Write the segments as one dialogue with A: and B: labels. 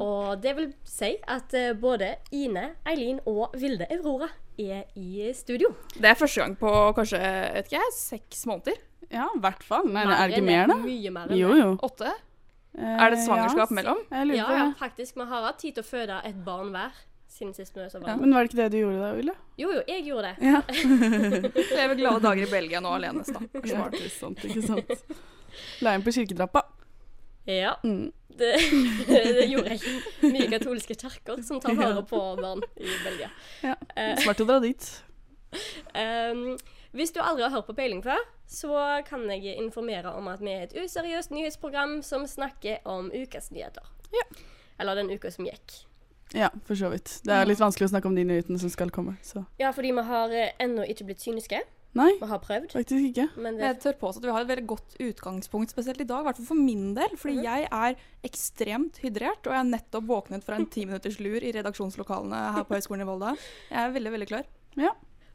A: Og det vil si at eh, både Ine, Eileen og Vilde Aurora er i studio.
B: Det er første gang på kanskje vet ikke jeg, seks måneder?
C: Ja, i hvert fall. Nei,
A: Mer
C: er det
A: enn
C: ikke mer, da?
A: Mye mer enn
C: Jo,
A: det.
C: jo.
B: Åtte?
C: Eh,
B: Er det svangerskap mellom?
C: Ja, jeg lurer
A: Ja,
C: på
A: ja,
C: det.
A: faktisk. Vi har hatt tid til å føde et barn hver siden sist vi så
C: Ja.
A: barn.
C: Men var det ikke det du gjorde da, Ulle?
A: Jo, jo, jeg gjorde det.
C: Ja.
B: Lever glade dager i Belgia nå alene, stakkars
C: ja
B: barn.
C: ikke sant, ikke sant. La inn på kirketrappa.
A: Ja,
C: Mm.
A: det, det gjorde jeg. Mye katolske kirker som tar vare
C: Ja.
A: på barn i Belgia.
C: Ja.
A: Eh,
C: Smart å dra dit.
A: Ehm, hvis du aldri har hørt på Peiling før, så kan jeg informere om at vi er et useriøst nyhetsprogram som snakker om ukas nyheter.
C: Ja.
A: Eller den uka som gikk.
C: Ja, for så vidt. Det er litt vanskelig å snakke om de nyhetene som skal komme, så
A: Ja, fordi vi har eh, ennå ikke blitt kyniske.
C: Nei,
A: Vi har prøvd,
C: faktisk ikke.
A: men det
B: Jeg tør påstå at vi har et veldig godt utgangspunkt, spesielt i dag. I hvert fall for min del, fordi jeg er ekstremt hydrert. Og jeg har nettopp våknet fra en timinutters lur i redaksjonslokalene her på Høgskolen i Volda. Jeg er veldig, veldig klar.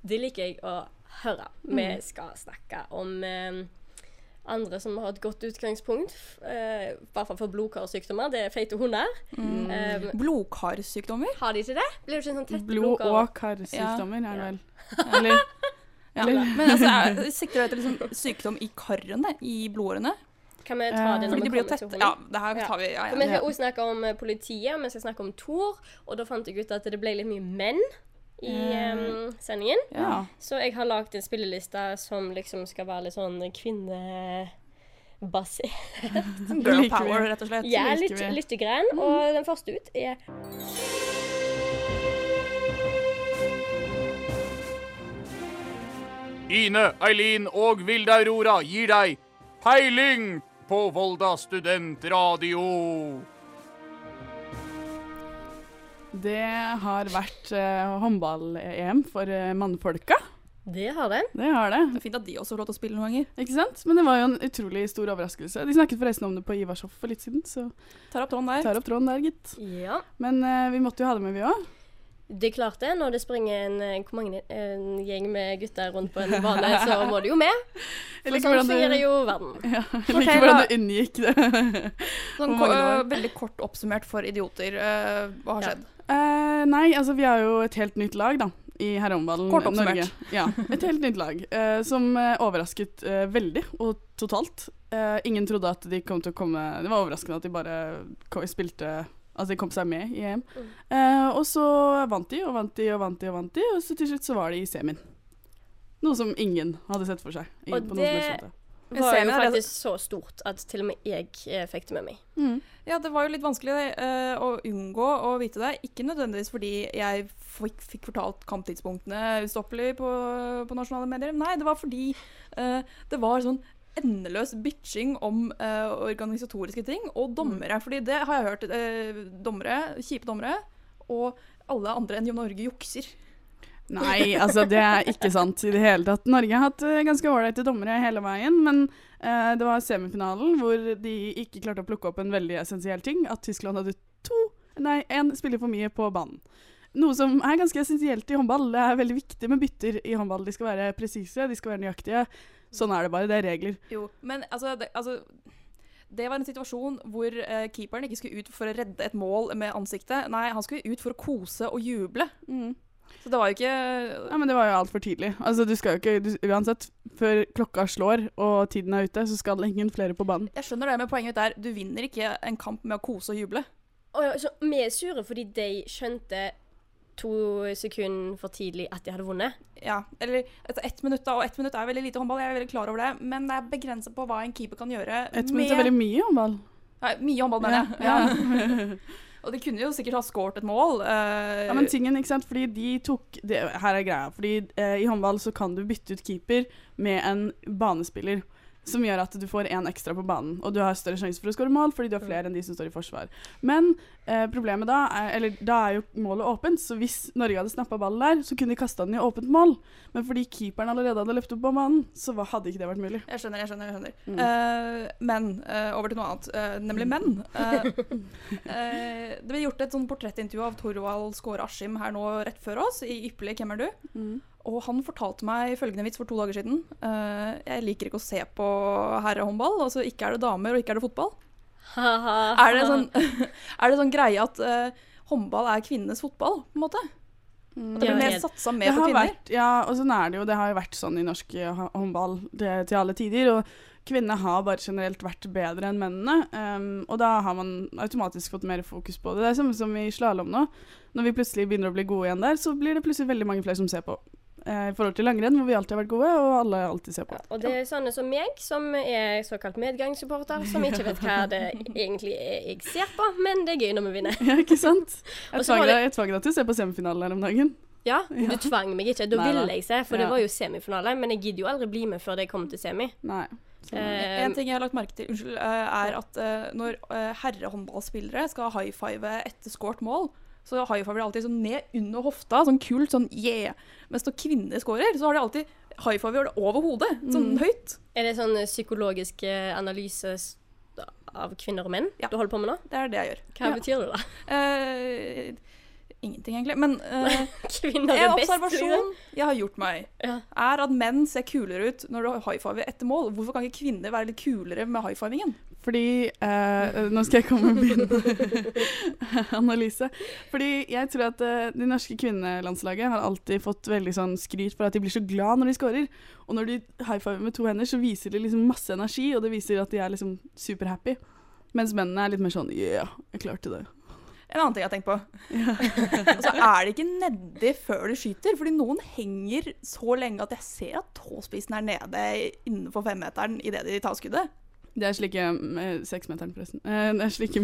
A: Det liker jeg å høre. Vi skal snakke om eh, andre som har et godt utgangspunkt, f- eh, i hvert fall for blodkarsykdommer. Det er feite hunder. Eh,
B: Blodkarsykdommer?
A: har de ikke det? Blir det ikke en sånn tett
C: Blod- og
A: blodkar?
C: karsykdommer er det
A: Ja.
C: vel. Eller
B: Ja.
C: Eller-
B: Men altså, jeg sikter du etter liksom sykdom i karene? I blodårene?
A: Kan vi ta det
C: Eh,
A: når
B: Fordi
A: vi
B: de blir jo
A: kommer til
B: tette. Ja,
A: hunden?
B: det her
A: Ja.
B: tar vi. Ja,
A: For Vi
B: ja.
A: skal også snakke om eh, politiet, vi skal snakke om Tor, og da fant jeg ut at det ble litt mye menn i eh, sendingen.
C: ja.
A: Så jeg har lagd en spilleliste som liksom skal være litt sånn kvinnebasert.
B: Girl
C: Liker vi.
B: power, rett og slett.
A: Ja,
C: liker
A: litt,
C: vi.
A: lite grann. Og den første ut er
D: Ine, Eileen og Vilde Aurora gir deg peiling på Volda studentradio.
C: Det har vært eh, håndball-EM for eh, mannfolka.
A: Det har den.
C: Det har det.
B: Det er fint at de også får lov til å spille noen ganger.
C: Ikke sant? Men det var jo en utrolig stor overraskelse. De snakket forresten om det på Ivarshoff for litt siden, så
B: Tar opp tråden der.
C: tar opp tråden der, gitt.
A: Ja.
C: Men eh, vi måtte jo ha det med, vi òg.
A: Det er klart det. Når det springer en, eh, hvor mange, en gjeng med gutter rundt på en bane, så må du jo med. For sånn fungerer jo verden.
C: ja, jeg
B: Fortell,
C: liker
B: da.
C: hvordan du unngikk det.
B: Sånn,
C: Hvor mange
B: ko-
C: det var?
B: øh, veldig kort oppsummert for idioter. øh, hva har
A: Ja.
B: skjedd?
C: Eh, nei, altså vi har jo et helt nytt lag da, i herrehåndballen
B: Kort oppsummert.
C: Norge. Ja, et helt nytt lag eh, som eh, overrasket eh, veldig og totalt. Eh, ingen trodde at de kom til å komme Det var overraskende at de bare ko- spilte Altså de kom seg med i EM.
B: Mm.
C: Eh, og så vant de og vant de og vant de, og vant de, og så til slutt så var de i semien. Noe som ingen hadde sett for seg. i-
A: Og
C: på noen som helst
A: det-
C: måte.
B: Men
A: var
B: serien
A: jo
B: er det-
A: faktisk så stort at til og med jeg eh, fikk det med meg.
B: Ja, det var jo litt vanskelig øh, å unngå å vite det. Ikke nødvendigvis fordi jeg fikk, fikk fortalt kamptidspunktene ustoppelig på, på nasjonale medier. Nei, det var fordi øh, det var sånn endeløs bitching om øh, organisatoriske ting og dommere. Fordi det har jeg hørt. øh, dommere, kjipe dommere, og alle andre enn Jo Norge jukser.
C: Nei, altså det er ikke sant i det hele tatt. Norge har hatt eh, ganske ålreite dommere hele veien, men eh, det var semifinalen hvor de ikke klarte å plukke opp en veldig essensiell ting, at Tyskland hadde to, nei, én spiller for mye på banen. Noe som er ganske essensielt i håndball. Det er veldig viktig med bytter i håndball. De skal være presise, de skal være nøyaktige. Sånn er det bare, det er regler.
B: Jo, men altså det, altså det var en situasjon hvor eh, keeperen ikke skulle ut for å redde et mål med ansiktet. Nei, han skulle ut for å kose og juble.
C: Mm.
B: Så det var jo ikke
C: Ja, men det var jo altfor tidlig. Altså, du skal jo ikke du, Uansett, før klokka slår og tiden er ute, så skal ingen flere på banen.
B: Jeg skjønner det, men poenget mitt er du vinner ikke en kamp med å kose og juble.
A: Og ja, så vi er sure fordi de skjønte to sekunder for tidlig at de hadde vunnet.
B: Ja, eller altså, ett minutt, da. Og ett minutt er veldig lite håndball, jeg er veldig klar over det. Men det er begrenset på hva en keeper kan gjøre
C: Ett minutt er veldig mye i håndball.
B: Nei, Mye håndball, mener jeg.
C: Ja,
B: Og de kunne jo sikkert ha scoret et mål. eh,
C: Ja, men tingen, ikke sant? Fordi de tok det, Her er greia. Fordi eh, I håndball så kan du bytte ut keeper med en banespiller. Som gjør at du får én ekstra på banen, og du har større sjanse for å skåre mål fordi du har flere enn de som står i forsvar. Men eh, problemet da er, eller, da er jo målet åpent, så hvis Norge hadde snappa ballen der, så kunne de kasta den i åpent mål. Men fordi keeperen allerede hadde løpt opp på banen, så hva- hadde ikke det vært mulig.
B: Jeg skjønner, jeg skjønner. jeg skjønner. Eh, men eh, over til noe annet, eh, nemlig menn. Eh, eh, det ble gjort et sånn portrettintervju av Torvald Skåre Askim her nå rett før oss, i ypperlig 'Hvem er du?', og han fortalte meg følgende vits for to dager siden. Eh, jeg liker ikke å se på herrehåndball, altså ikke er det damer og ikke er det fotball.
A: Ha-ha.
B: Er det sånn, er det sånn greie at eh, håndball er kvinnenes fotball, på en måte? At det
A: Mm. Ja,
B: blir mer
A: helt.
B: satsa
C: Det
B: mer på
C: har
B: kvinner?
C: vært, ja, og sånn er det jo. Det har jo vært sånn i norsk eh, hå- håndball det, til alle tider. Og kvinnene har bare generelt vært bedre enn mennene. ehm, og da har man automatisk fått mer fokus på det. Det er samme som i slalåm nå. Når vi plutselig begynner å bli gode igjen der, så blir det plutselig veldig mange flere som ser på. Eh, I forhold til langrenn, hvor vi alltid har vært gode, og alle alltid ser på.
A: Ja, og det er sånne som meg, som er såkalt medgangssupporter, som ikke vet hva det egentlig er jeg ser på, men det er gøy når vi vinner.
C: Ja, ikke sant?
A: Og
C: Jeg
A: så
C: tvang
A: var det-
C: deg- jeg tvang deg til å se på semifinalen her om dagen.
A: Ja, du tvang meg ikke. Da
C: Nei,
A: ville
C: nei.
A: jeg se, for det
C: Ja.
A: var jo semifinale. Men jeg gidder jo aldri bli med før det kommer til semi.
C: Nei.
A: Eh,
B: En ting jeg har lagt merke til, unnskyld, eh, er at eh, når eh, herrehåndballspillere skal high five etter skåret mål, så high fiver de alltid sånn ned under hofta, sånn kult, sånn yeah. Mens når kvinner scorer, så har de alltid high fiver over hodet, sånn
A: Mm.
B: høyt.
A: Er det sånn psykologisk eh, analyse s- av kvinner og menn
B: Ja.
A: du holder på med nå?
B: Det er det jeg gjør.
A: Hva
B: Ja.
A: betyr det, da?
B: Eh, ingenting, egentlig. Men eh,
A: Kvinner
B: en
A: er best. liksom.
B: observasjon jeg har gjort meg,
A: Ja.
B: er at menn ser kulere ut når du high fiver etter mål. Hvorfor kan ikke kvinner være litt kulere med high fivingen?
C: Fordi eh, Nå skal jeg komme med min analyse. Fordi jeg tror at eh, det norske kvinnelandslaget har alltid fått veldig sånn skryt for at de blir så glad når de scorer. Og når de high fiver med to hender, så viser de liksom masse energi, og det viser at de er liksom superhappy. Mens mennene er litt mer sånn Yeah, jeg klarte det.
B: En annen ting jeg har tenkt på. så er det ikke nedi før du skyter, fordi noen henger så lenge at jeg ser at tåspissen er nede innenfor femmeteren idet de tar skuddet.
C: Det er slike eh, Seksmeteren, forresten. Eh, det er slike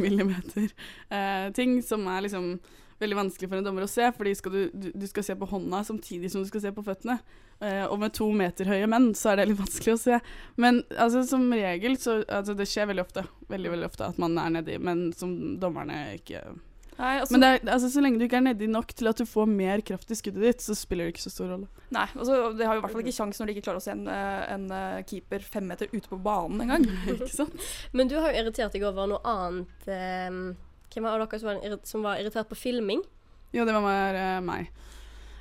C: millimeter-ting som er liksom veldig vanskelig for en dommer å se, fordi skal du, du, du skal se på hånda samtidig som du skal se på føttene. Eh, og med to meter høye menn, så er det litt vanskelig å se. Men altså, som regel så altså, Det skjer veldig ofte veldig, veldig ofte at man er nedi, men som dommerne ikke
B: Nei, altså,
C: Men det er, altså, så lenge du ikke er nedi nok til at du får mer kraft i skuddet ditt, så spiller det ikke så stor rolle.
B: nei, altså, de har jo i hvert fall ikke sjans når de ikke klarer å se en, eh, en eh, keeper fem meter ute på banen engang.
C: ikke sant?
A: Men du har jo irritert deg over noe annet. ehm, hvem av dere som var, irri- som var irritert på filming?
C: Jo, det var mer, eh, meg.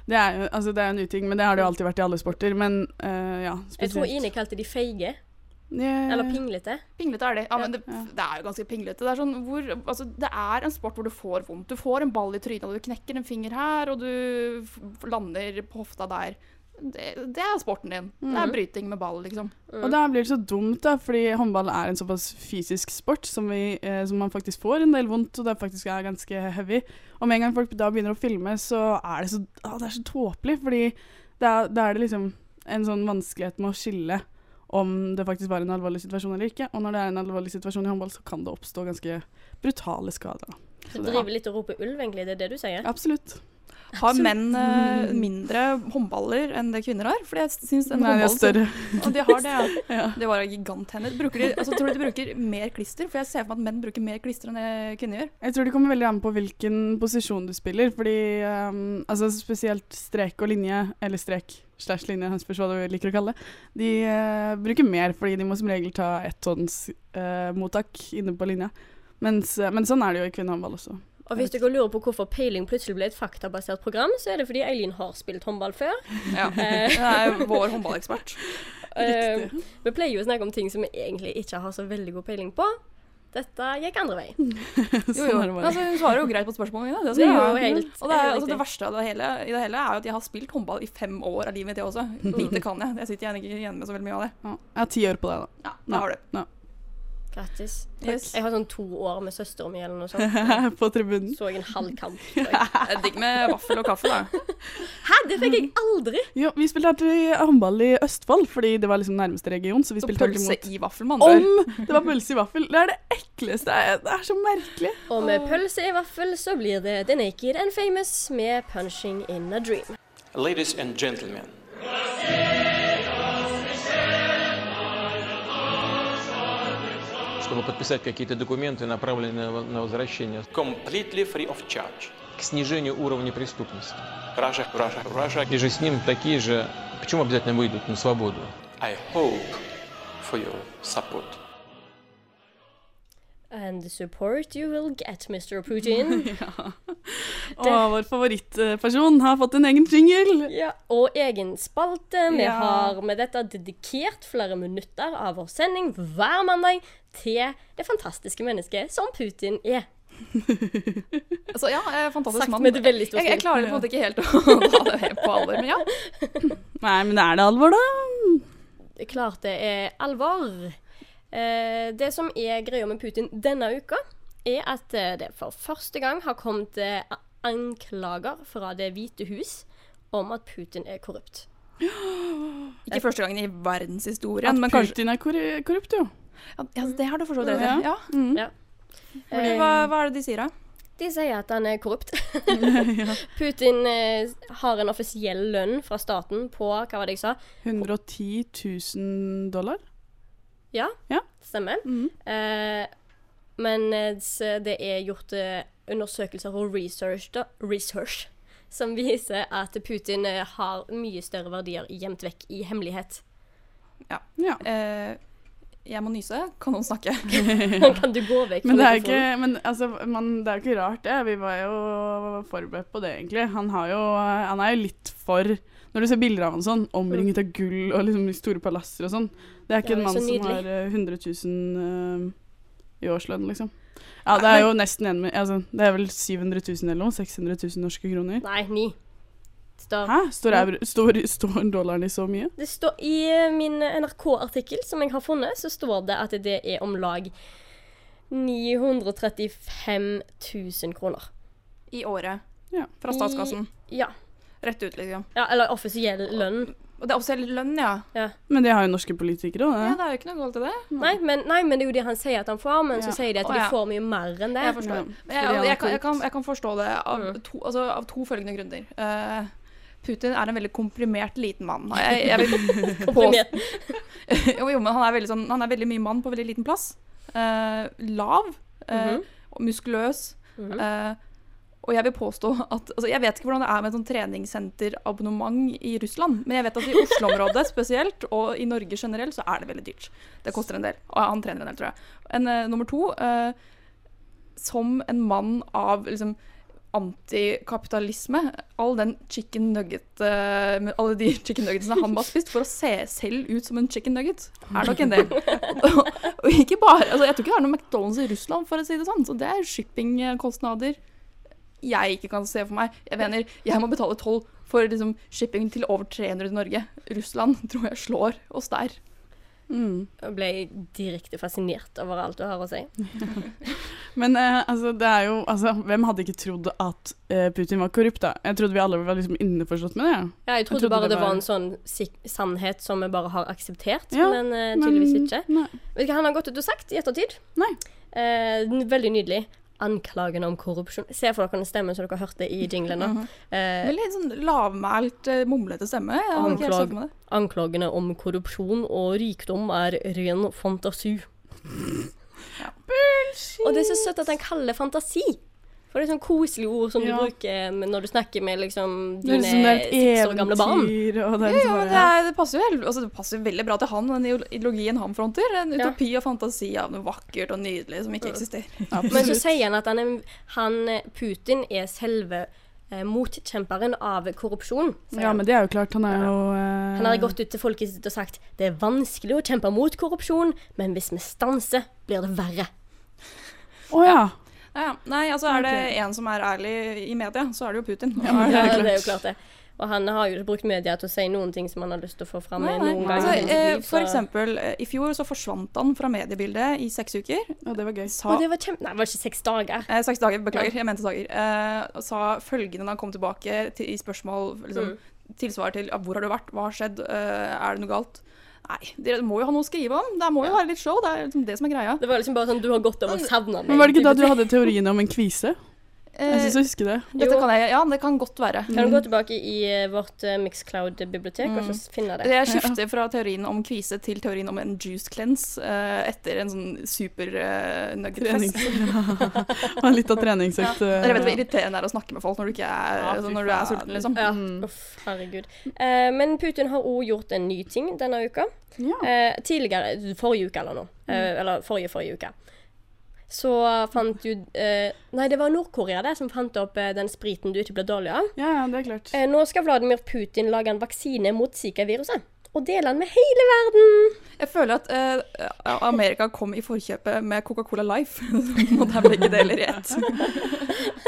C: Det er jo altså, det er en uting, men det har det jo alltid vært i alle sporter. Men eh, ja,
A: Jeg tror Ine kalte de feige.
C: Yeah.
A: Eller pinglete.
B: Pinglete er det. Ja, men det,
C: Ja.
B: det er jo ganske pinglete. Det er, sånn hvor, altså, det er en sport hvor du får vondt. Du får en ball i trynet, og du knekker en finger her, og du f- lander på hofta der. Det, det er sporten din. Det
A: Mhm.
B: er bryting med ball, liksom.
C: Og da blir det så dumt, da, fordi håndball er en såpass fysisk sport som, vi, eh, som man faktisk får en del vondt, og det faktisk er ganske heavy. Og med en gang folk da begynner å filme, så er det så, ah, det er så tåpelig, fordi da, da er det liksom en sånn vanskelighet med å skille om det faktisk var en alvorlig situasjon eller ikke. Og når det er en alvorlig situasjon i håndball, så kan det oppstå ganske brutale skader. da.
A: Du driver litt og roper ulv, egentlig. Det er det du sier?
C: Absolutt. Mm.
B: Har menn eh, mindre håndballer enn det kvinner har? Fordi jeg syns den
C: Nei, det er
B: håndballen-
C: større.
B: Og de har det, ja.
C: Ja.
B: Det var giganthender. Bruker de, altså, tror du de bruker mer klister? For jeg ser for meg at menn bruker mer klister enn det kvinner gjør.
C: Jeg tror det kommer veldig an på hvilken posisjon du spiller, fordi ehm, altså spesielt strek og linje, eller strek slash linje, han spørs hva du liker å kalle det, de eh, bruker mer, fordi de må som regel ta ett tons eh, mottak inne på linja. Mens, eh, men sånn er det jo i kvinnehåndball også.
A: Og hvis dere lurer på hvorfor peiling plutselig ble et faktabasert program, så er det fordi Eileen har spilt håndball før. Eh,
B: Det er vår håndballekspert.
A: eh, vi pleier jo å snakke om ting som vi egentlig ikke har så veldig god peiling på. Dette gikk andre vei.
B: Jo, jo.
C: sånn er det
B: Men
C: bare.
B: altså, hun svarer jo greit på spørsmålene mine. Det,
A: Det
B: skal
A: er
B: jeg
A: jo
B: ha.
A: helt,
B: og det, er,
A: helt
B: altså, det
A: riktig.
B: verste av det hele, i det hele er jo at jeg har spilt håndball i fem år av livet mitt, jeg også. Lite kan jeg. Jeg sitter gjerne ikke igjen med så veldig mye av det.
C: Ja, jeg har ti år på deg, da.
B: Ja, da har du.
A: Grattis.
B: Yes.
A: Jeg har sånn to år med søsteren min eller noe sånt.
C: på tribunen.
A: Så jeg en halv kamp. tror jeg.
B: Det er Digg med vaffel og kaffe, da.
A: Hæ, det fikk jeg aldri!
C: Jo, vi spilte alltid håndball i Østfold, fordi det var liksom nærmeste region, så vi
B: Så
C: spilte alltid
B: pølse
C: mot.
B: i vaffel, med andre ord.
C: Om det var pølse i vaffel! Det er det ekleste. Det er- Det er så merkelig.
A: Og med pølse i vaffel så blir det The Naked and Famous med Punching in a Dream.
E: Ladies and gentlemen,
F: чтобы подписать какие-то документы, направленные на на возвращение
E: completely free of charge.
F: к снижению уровня преступности.
E: Russia, Russia, Russia.
F: И же с ним такие же, почему обязательно выйдут на свободу?
E: I hope for your support.
A: And the support you will get, Mr. Putin.
C: Og vår favorittperson har fått en egen jingle.
A: Ja, og egen spalte. Vi
B: Ja.
A: har med dette dedikert flere minutter av vår sending hver mandag til det fantastiske mennesket som Putin er.
B: Så ja, eh, fantastisk
A: Sagt
B: mann.
A: med et veldig stort
B: jeg, jeg
A: smil.
B: klarer på en måte ikke helt å ta det helt på alvor, men ja.
C: Nei, men er det alvor, da?
A: Klart det er alvor. Eh, det som er greia med Putin denne uka, er at eh, det for første gang har kommet eh, a- anklager fra Det hvite hus om at Putin er korrupt.
B: Ikke første gangen i verdenshistorien,
C: At
B: men kanskje
C: Putin er korru- korrupt, jo.
B: Ja, ja, det har du for så vidt rett i. Ja.
A: Eh,
B: Hva, hva er det de sier, da?
A: De sier at han er korrupt. Putin eh, har en offisiell lønn fra staten på Hva var det jeg sa?
C: 110 000 dollar.
A: Ja,
C: Ja.
A: stemmer.
C: Mm.
A: Eh, men eh, s- det er gjort eh, undersøkelser og research, da, research som viser at Putin eh, har mye større verdier gjemt vekk i hemmelighet.
C: Ja.
B: Eh, jeg må nyse. Kan noen snakke?
A: kan du gå vekk fra
C: Men det er
A: mikrofonen?
C: jo ikke, men, altså, man, det er jo ikke rart det. Vi var jo forberedt på det, egentlig. Han, har jo, han er jo litt for Når du ser bilder av han sånn, omringet av gull og liksom store palasser og sånn. Det er ikke
A: Ja, det er
C: en mann
A: så
C: som
A: nydelig.
C: har eh, 100 000 eh, i årslønn, liksom. Ja, det er jo nesten en mi- altså, Det er vel 700 000 eller noe? 600 000 norske kroner?
A: Nei, ni. Det Står,
C: Hæ? Står, euro, står, står dollaren i så mye?
A: det står, I eh, min NRK-artikkel som jeg har funnet, så står det at det er om lag 935 000 kroner.
B: I året.
C: Ja.
B: Fra statskassen.
A: Ja.
B: Rett ut, liksom.
A: ja eller offisiell lønn.
B: Og det er offisiell lønn, ja.
C: Men det har jo norske politikere òg,
B: ja.
C: det.
B: Det er jo ikke noe galt i det.
A: Nei men, nei, men det er jo det han sier at han får, men
C: Ja.
A: så sier de at
B: Å,
A: de
B: ja.
A: får mye mer enn det.
B: Jeg forstår.
C: Ja.
B: Men Jeg, jeg,
C: Fordi han er
B: kan, jeg,
C: korrupt.
B: kan, jeg kan forstå det av
A: Mm.
B: to, altså, av to følgende grunner. Eh, Putin er en veldig komprimert liten mann. Jeg, jeg vil
A: Komprimert.
B: jo, jo, men han er, veldig sånn, han er veldig mye mann på veldig liten plass. Eh, lav. eh,
A: Mhm.
B: og Muskuløs.
A: Mhm.
B: eh, og jeg vil påstå at altså, Jeg vet ikke hvordan det er med et sånn treningssenterabonnement i Russland, men jeg vet at i Oslo-området spesielt, og i Norge generelt, så er det veldig dyrt. Det koster en del. Og han trener en del, tror jeg. En, eh, nummer to eh, Som en mann av liksom antikapitalisme. All den chicken nugget eh, med Alle de chicken nuggetsene han må ha spist for å se selv ut som en chicken nugget, er nok en del. og, og ikke bare altså, Jeg tror ikke det er noe McDonald's i Russland, for å si det sånn. Så det er shippingkostnader jeg ikke kan se for meg. Jeg mener, jeg må betale toll for liksom, shipping til over 300 i Norge. Russland tror jeg slår oss der.
C: Mm.
A: Jeg ble direkte fascinert over alt du har å si.
C: Men eh, altså, det er jo altså, Hvem hadde ikke trodd at eh, Putin var korrupt, da? Jeg trodde vi alle var liksom innforstått med det. ja.
A: Ja, jeg trodde,
C: trodde
A: bare
C: det
A: det
C: var-
A: var en sånn sik sannhet som vi bare har akseptert,
C: Ja,
A: men eh,
C: Men-
A: tydeligvis ikke.
C: Nei.
A: Vet du hva han har gått ut og sagt i ettertid?
C: Nei.
A: Eh, n- veldig nydelig. Anklagene om korrupsjon. Se for dere den stemmen som dere hørte i jinglen nå. Eh,
B: Veldig sånn lavmælt, eh, mumlete stemme. Jeg hadde ikke helt
A: Anklag-
B: sett med det.
A: anklagene om korrupsjon og rikdom er ren fantasi. Og det er så søtt at han kaller fantasi. For det er sånn koselige ord som
C: Ja.
A: du bruker med- når du snakker med liksom
C: Det er
A: dine
C: liksom det er et
A: seks år gamle barn.
C: eventyr, og det er
B: Ja,
C: liksom
B: men det,
C: bare
B: er, det, passer jo helt, altså, det passer veldig bra til han, den ideologien han fronter. En
A: Ja.
B: utopi og fantasi av noe vakkert og nydelig som ikke eksisterer.
A: Men så
C: Absolutt.
A: sier han at han, er- han eh, Putin er selve eh, motkjemperen av korrupsjon. sier
C: Ja,
A: han.
C: men det er jo klart. Han er jo eh,
A: han har gått ut til folket sitt og sagt det er vanskelig å kjempe mot korrupsjon, men hvis vi stanser, blir det verre.
C: Å ja.
B: Ja, ja. Nei, altså er det en som er ærlig i media, så er det jo Putin.
C: men
A: Ja,
C: det
A: det
C: er
A: er jo
C: klart.
A: klart det. Og han har jo ikke brukt media til å si noen ting som han har lyst til å få fram.
B: Nei,
A: i
B: nei.
A: noen gang
B: Altså,
A: i sitt
B: eh,
A: liv,
B: for
A: så-
B: eksempel, eh, i fjor så forsvant han fra mediebildet i seks uker.
C: Ja, det var gøy.
B: Sa,
A: Å, det var kjempe... Nei, det var ikke seks dager.
B: eh, seks dager, beklager, jeg mente dager. Eh, og sa følgende da han kom tilbake til, i spørsmål,
A: Mm.
B: liksom, tilsvar til ja, hvor har du vært, hva har skjedd, eh, er det noe galt? Nei, dere må jo ha noe å skrive om, det må jo være litt show, det er liksom det som er greia.
A: Det var liksom bare sånn du har gått over og savna meg.
C: Men var det ikke da
A: type
C: du hadde teorien om en kvise? Jeg syns
B: Eh,
C: jeg husker det.
B: dette
A: Jo.
B: kan jeg, ja, det kan godt være.
A: Kan du gå tilbake i eh, vårt eh, Mixcloud-bibliotek og
C: Mm.
A: så finne det?
B: Jeg skifter fra teorien om kvise til teorien om en juice cleanse eh, etter en sånn super eh,
C: Trening.
B: nugget-fest.
C: Og litt av treningsøkt. eh,
B: Dere vet hvor irriterende det er å snakke med folk når du, ikke er,
C: Ja, fy
B: altså, når du er
C: faen.
B: sulten, liksom.
A: Ja,
C: Mm.
A: uff, herregud. Eh, men Putin har òg gjort en ny ting denne uka.
C: Ja. Mm.
A: Eh, tidligere, forrige uke eller noe. Eh, eller forrige forrige uke. så fant jo eh, Nei, det var Nord-Korea det som fant opp eh, den spriten du ikke blir dårlig av.
C: Ja, ja, det er klart.
A: Eh, nå skal Vladimir Putin lage en vaksine mot Zika-viruset. Og dele den med hele verden!
B: Jeg føler at eh, Amerika kom i forkjøpet med Coca-Cola Life. Så må det begge deler i ett.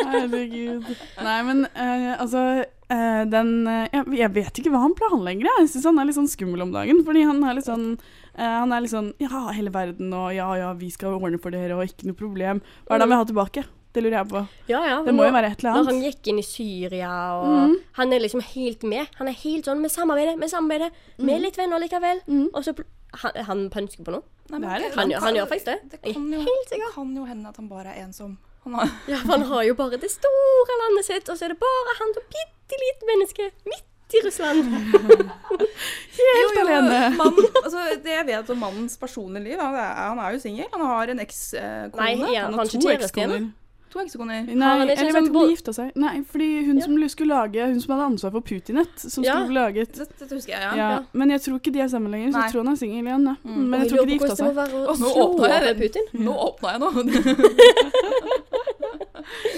C: Herregud. Nei, men eh, altså eh, Den eh, jeg, jeg vet ikke hva han planlegger. jeg. Jeg syns han er litt sånn skummel om dagen. Fordi han er litt sånn eh, Han er litt sånn Ja, hele verden, og ja, ja, vi skal ordne for dere, og ikke noe problem. Hva er det han vil ha tilbake? Det lurer jeg på.
A: Ja, ja.
C: Det må jo være et eller
A: Når han
C: annet. Mm.
A: gikk inn i Syria og Han er liksom helt med. Han er helt sånn Vi samarbeider, vi samarbeider. Vi
C: Mm.
A: er litt venner likevel. Og så pl- Han, han pønsker på noe.
B: Nei, men
C: Det er
B: det
C: det.
A: Han, gjør- han gjør faktisk det.
B: det
A: Jeg
B: kan, jo,
A: er helt
B: det
A: sikker.
B: kan jo hende at han bare er ensom. Han har,
A: Ja, for han har jo bare det store landet sitt, og så er det bare han som bitte lite menneske midt i Russland.
C: Helt alene.
B: mann, altså, det jeg vet om mannens personlige liv, han er, han er jo singel. Han har en ekskone.
A: Nei, ja,
B: Han
A: han
B: har
A: har ikke
C: To
A: kjæreste igjen.
C: ekskoner.
B: to ekskoner.
C: Nei,
A: Har han ikke
C: eller
A: en
C: vet
A: sånn
C: du, hun
A: bo-
C: gifta seg. Nei, fordi hun som skulle lage Hun som hadde ansvar for Putinett, som
A: Ja.
C: skulle lage et
B: Dette, dette husker jeg, ja.
C: ja, Men jeg tror ikke de er sammen lenger, så
B: Nei.
C: jeg tror han er singel igjen. Ja. Men jeg
A: Mm. Og
C: tror ikke
A: lurer
C: de
A: på
C: gifta
A: hvordan
C: seg.
A: det må være å
B: Og nå
A: slå
B: åpna jeg
A: av
B: den.
A: Putin.
B: Mm. Nå åpna jeg noe.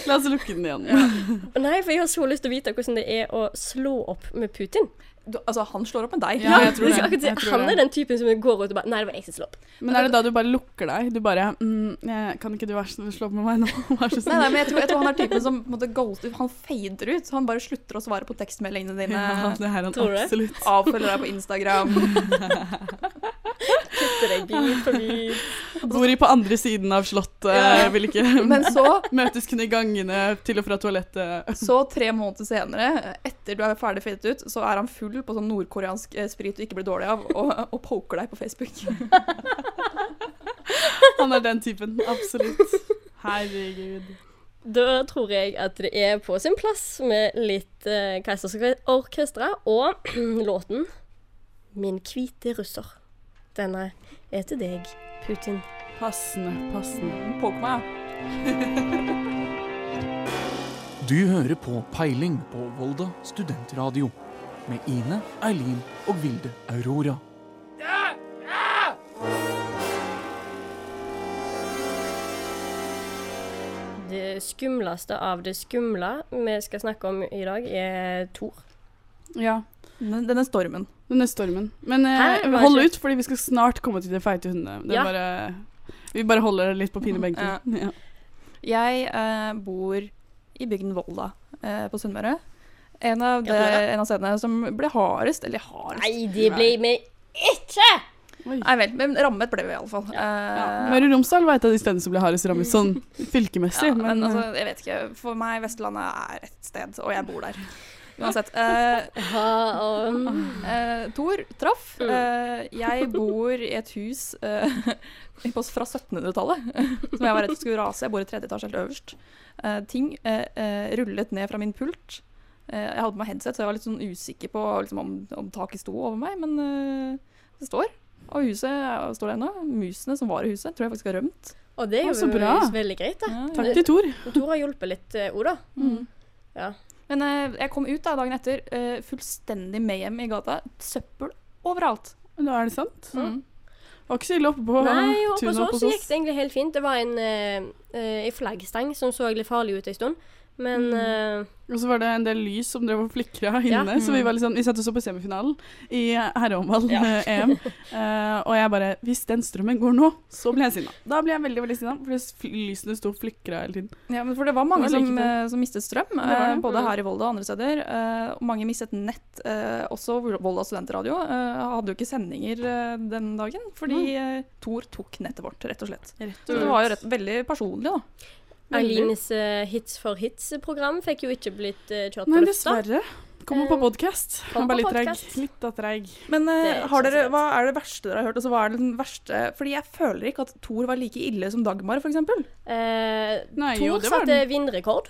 C: La oss lukke den igjen. Ja.
A: Nei, for jeg har så lyst til å vite hvordan det er å slå opp med Putin.
B: Du, altså, han slår opp med deg.
C: Ja, jeg tror
A: skal
C: det.
A: akkurat si,
C: Jeg tror
A: han
C: det.
A: er den typen som går ut og bare Nei, det var jeg som slo opp.
C: Men er det da du bare lukker deg? Du bare mm, jeg, 'Kan ikke du være så snill å slå opp med meg nå?' Vær
B: Nei, nei,
C: så snill.
B: men jeg tror, jeg tror han er typen som på en måte, ghost, han fader ut. Han bare slutter å svare på tekstmeldingene dine.
C: Ja, det er han
A: Tror du det?
C: absolutt.
B: Avfølger deg på Instagram.
A: Kutter deg bit for bit.
C: Bor i på andre siden av slottet, eh,
B: Ja.
C: vil ikke
B: Men så,
C: Møtes kun i gangene til og fra toalettet.
B: så tre måneder senere, etter du er ferdig fadet ut, så er han full på sånn nordkoreansk eh, sprit du ikke blir dårlig av, og, og poker deg på Facebook.
C: Han er den typen. Absolutt. Herregud.
A: Da tror jeg at det er på sin plass med litt uh, Keisersorkestra og låten 'Min hvite russer'. Denne er til deg, Putin.
C: Passende, passende.
B: Poker meg. ja.
D: Du hører på Peiling på Volda studentradio. Med Ine, Eileen og Vilde Aurora.
A: Det skumleste av det skumle vi skal snakke om i dag, er Thor.
C: Ja.
B: Den- Denne stormen.
C: Denne stormen. Men
A: Hæ?
C: eh,
A: Hva
C: hold
A: skjer?
C: ut, fordi vi skal snart komme til de feite hundene. Det er
A: Ja.
C: bare, vi bare holder det litt på pinebenken. Ja.
B: Jeg eh, bor i bygden Volda eh, på Sunnmøre. En av, de,
A: Gratulerer.
B: en av stedene som ble hardest, eller hardest
A: Nei, det ble vi ikke!
C: Oi.
B: Nei vel, men rammet ble vi iallfall.
C: Ja.
B: Eh,
C: Møre og Romsdal var et av de stedene som ble hardest rammet, sånn fylkemessig.
B: Ja, men,
C: men, eh.
B: altså, jeg vet ikke. For meg, Vestlandet er et sted, og jeg bor der. Uansett. Eh,
A: Ja, og, mm,
B: eh, Tor traff. Eh, jeg bor i et hus eh, på- fra 1700-tallet som jeg var redd for skulle rase. Jeg bor i tredje etasje helt øverst. Eh, ting eh, eh, rullet ned fra min pult. Eh, jeg hadde på meg headset, så jeg var litt sånn usikker på liksom, om, om taket sto over meg, men eh, det står. Og huset eh, står der ennå. Musene som var i huset, tror jeg faktisk har rømt.
A: og det er jo
C: Å, så bra.
A: veldig greit, da.
B: Ja, Mm.
C: takk til Tor.
A: Thor har hjulpet litt, eh, Oda.
B: Men eh, jeg kom ut da dagen etter, eh, fullstendig mayhem i gata. Søppel overalt.
C: Da er det sant. Var ikke så ille oppe på
A: Mm. Nei, og på
C: tunet
A: så,
C: oppe hos
A: så gikk
C: oss.
A: det egentlig helt fint. Det var en, eh, eh, en flaggstang som så litt farlig ut en stund. Men
C: Mm.
A: eh,
C: Og så var det en del lys som drev og flikra
A: Ja. Mm.
C: inne. Så vi, var litt sånn- vi satt og så på semifinalen i herrehåndball, eh, EM. Eh, og jeg bare Hvis den strømmen går nå, så blir jeg sinna. Da blir jeg veldig veldig sinna, for det- lysene sto og flikra hele tiden.
B: Ja, men for det var mange
C: Det var like
B: som,
C: fint.
B: eh, som mistet strøm,
C: var
B: eh,
C: det.
B: både her i Volda og andre steder. eh, og mange mistet nett. eh, også Volda studentradio eh, hadde jo ikke sendinger eh, den dagen, fordi eh, Tor tok nettet vårt, rett og slett.
C: Rett
B: Så det var jo rett, veldig personlig, da.
A: Eileenes eh, Hits for hits-program fikk jo ikke blitt eh, kjørt på
C: Nei,
A: lufta.
C: dessverre. Kommer på
A: Eh,
C: podkast.
A: kom
C: Han var
A: på
C: litt treig.
A: podcast.
C: Litt av treig.
B: Men eh,
A: Det er ikke
B: har
A: så
B: dere,
A: greit.
B: hva er det verste dere har hørt? Altså, hva er den verste? Fordi jeg føler ikke at Tor var like ille som Dagmar, f.eks.
A: Eh,
C: Nei, jo,
A: Thor
C: det var
A: satte
C: den.
A: vinrekord.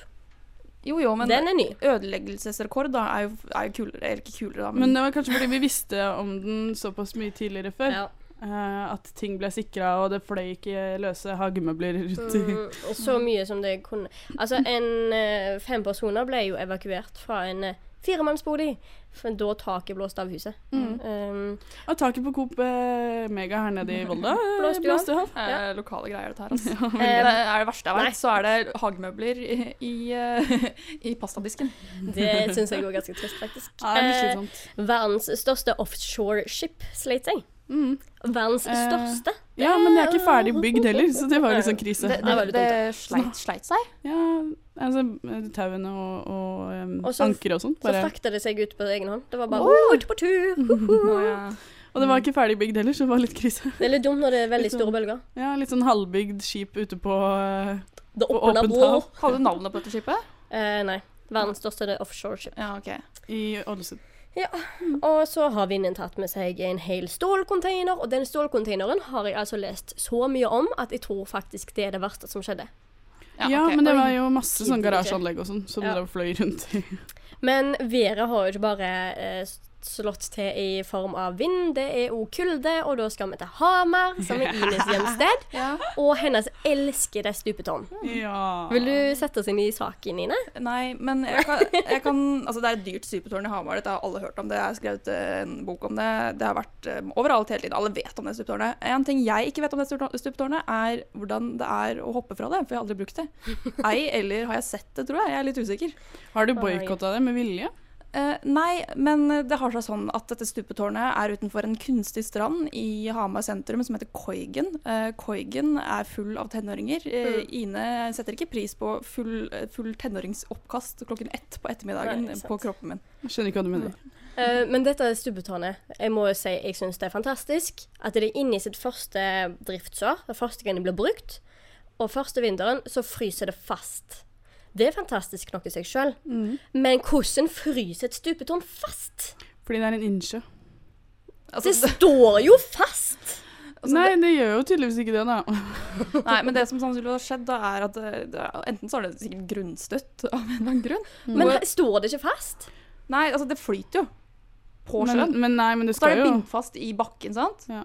B: Jo, jo, men
A: Den er ny.
B: ødeleggelsesrekord da, er, jo, er jo kulere, eller ikke kulere da, men,
C: Men det var kanskje fordi vi visste om den såpass mye tidligere før.
A: Ja.
C: eh, at ting ble sikra, og det fløy ikke løse hagemøbler rundt i
A: Mm, og så mye som det kunne Altså, en eh, fem personer ble jo evakuert fra en eh, Firemannsbolig! For da taket blåste av huset.
C: Mm.
A: Um,
C: Og taket på Coop eh, Mega her nede i Volda eh,
A: Blåste jo av.
C: blåste av.
B: Eh, Lokale greier, dette her. Altså.
A: eh,
B: Det er det verste jeg
A: Nei.
B: vet. Så er det hagemøbler i, i, eh, i pastadisken.
A: det syns jeg var ganske trist, faktisk.
C: Ja, det er litt
A: Eh,
C: slitsomt.
A: verdens største offshore-skip sleit seg.
C: Mm.
A: Verdens
C: Eh,
A: største.
C: Ja, men det er ikke ferdig bygd heller, så det var jo liksom
B: Det,
C: krise.
B: det,
A: er
B: det,
A: veldig
B: sleit, sleit seg.
C: Ja, altså eh, tauene og, og um,
A: Og så-
C: anker og sånt.
A: Så
C: Bare.
A: frakta det seg ut på egen hånd. Det var bare oh, ut på tur!
B: Mm.
A: hoho».
C: Og det var ikke ferdig bygd heller, så det var litt krise.
A: Det er litt dumt når det er veldig
C: Liksom
A: store bølger.
C: Ja, Litt sånn halvbygd skip ute på eh,
A: Det
C: På
A: åpna
C: åpent
A: bror.
C: hav.
B: Hadde du navnet på dette skipet?
A: Eh, nei. Verdens største offshore-skip.
B: Ja, ok.
C: i Ålesund. Mm.
A: Og så har vinden tatt med seg en hel stålcontainer, og den stålcontaineren har jeg altså lest så mye om at jeg tror faktisk det er det verste som skjedde.
C: Ja,
B: ok.
C: men det
B: Oi.
C: var jo masse sånn
A: Gidder ikke.
C: garasjeanlegg og sånn som
A: Ja.
C: drev og fløy rundt i.
A: Men været har jo ikke bare eh, s- slått til i form av vind, det er òg kulde, og da skal vi til Hamar, som er Ines hjemsted,
B: Ja.
A: og hennes elskede stupetårn.
C: Ja.
A: Vil du sette oss inn i saken, Ine?
B: Nei, men jeg kan, jeg kan Altså, det er et dyrt stupetårn i Hamar, dette har alle hørt om. Det Jeg har skrevet eh, en bok om det. Det har vært eh, overalt hele tiden. Alle vet om det stupetårnet. En ting jeg ikke vet om det stupetårn- stupetårnet, er hvordan det er å hoppe fra det, for jeg har aldri brukt det. Ei eller har jeg sett det, tror jeg. Jeg er litt usikker.
C: Har du boikotta det med vilje?
B: Eh, nei, men det har seg sånn at dette stupetårnet er utenfor en kunstig strand i Hamar sentrum som heter Koigen. Eh, Koigen er full av tenåringer. Eh,
A: Mm.
B: Ine setter ikke pris på full, eh, full tenåringsoppkast klokken ett på ettermiddagen
A: Nei, ikke sant.
B: på kroppen min.
C: Jeg Skjønner ikke hva du mener.
A: Eh, men dette stupetårnet, jeg må jo si jeg syns det er fantastisk. At det er inne i sitt første driftsår, det første gang det blir brukt, og første vinteren så fryser det fast. Det er fantastisk nok i seg sjøl, men hvordan fryser et stupetårn fast?
C: Fordi det er en innsjø.
B: Altså,
A: Det står jo fast!
B: Altså,
C: Nei, det gjør jo tydeligvis ikke det, da.
B: Nei, men det som sannsynligvis har skjedd, da, er at eh, det, det, enten så er det sikkert grunnstøtt av en eller annen grunn.
A: Men he- står det ikke fast?
B: Nei, altså, det flyter jo på
C: Men,
B: sjøen.
C: men nei, men det
B: Så er
C: skal
B: det
C: jo
B: bindt fast i bakken, sant?
C: Ja.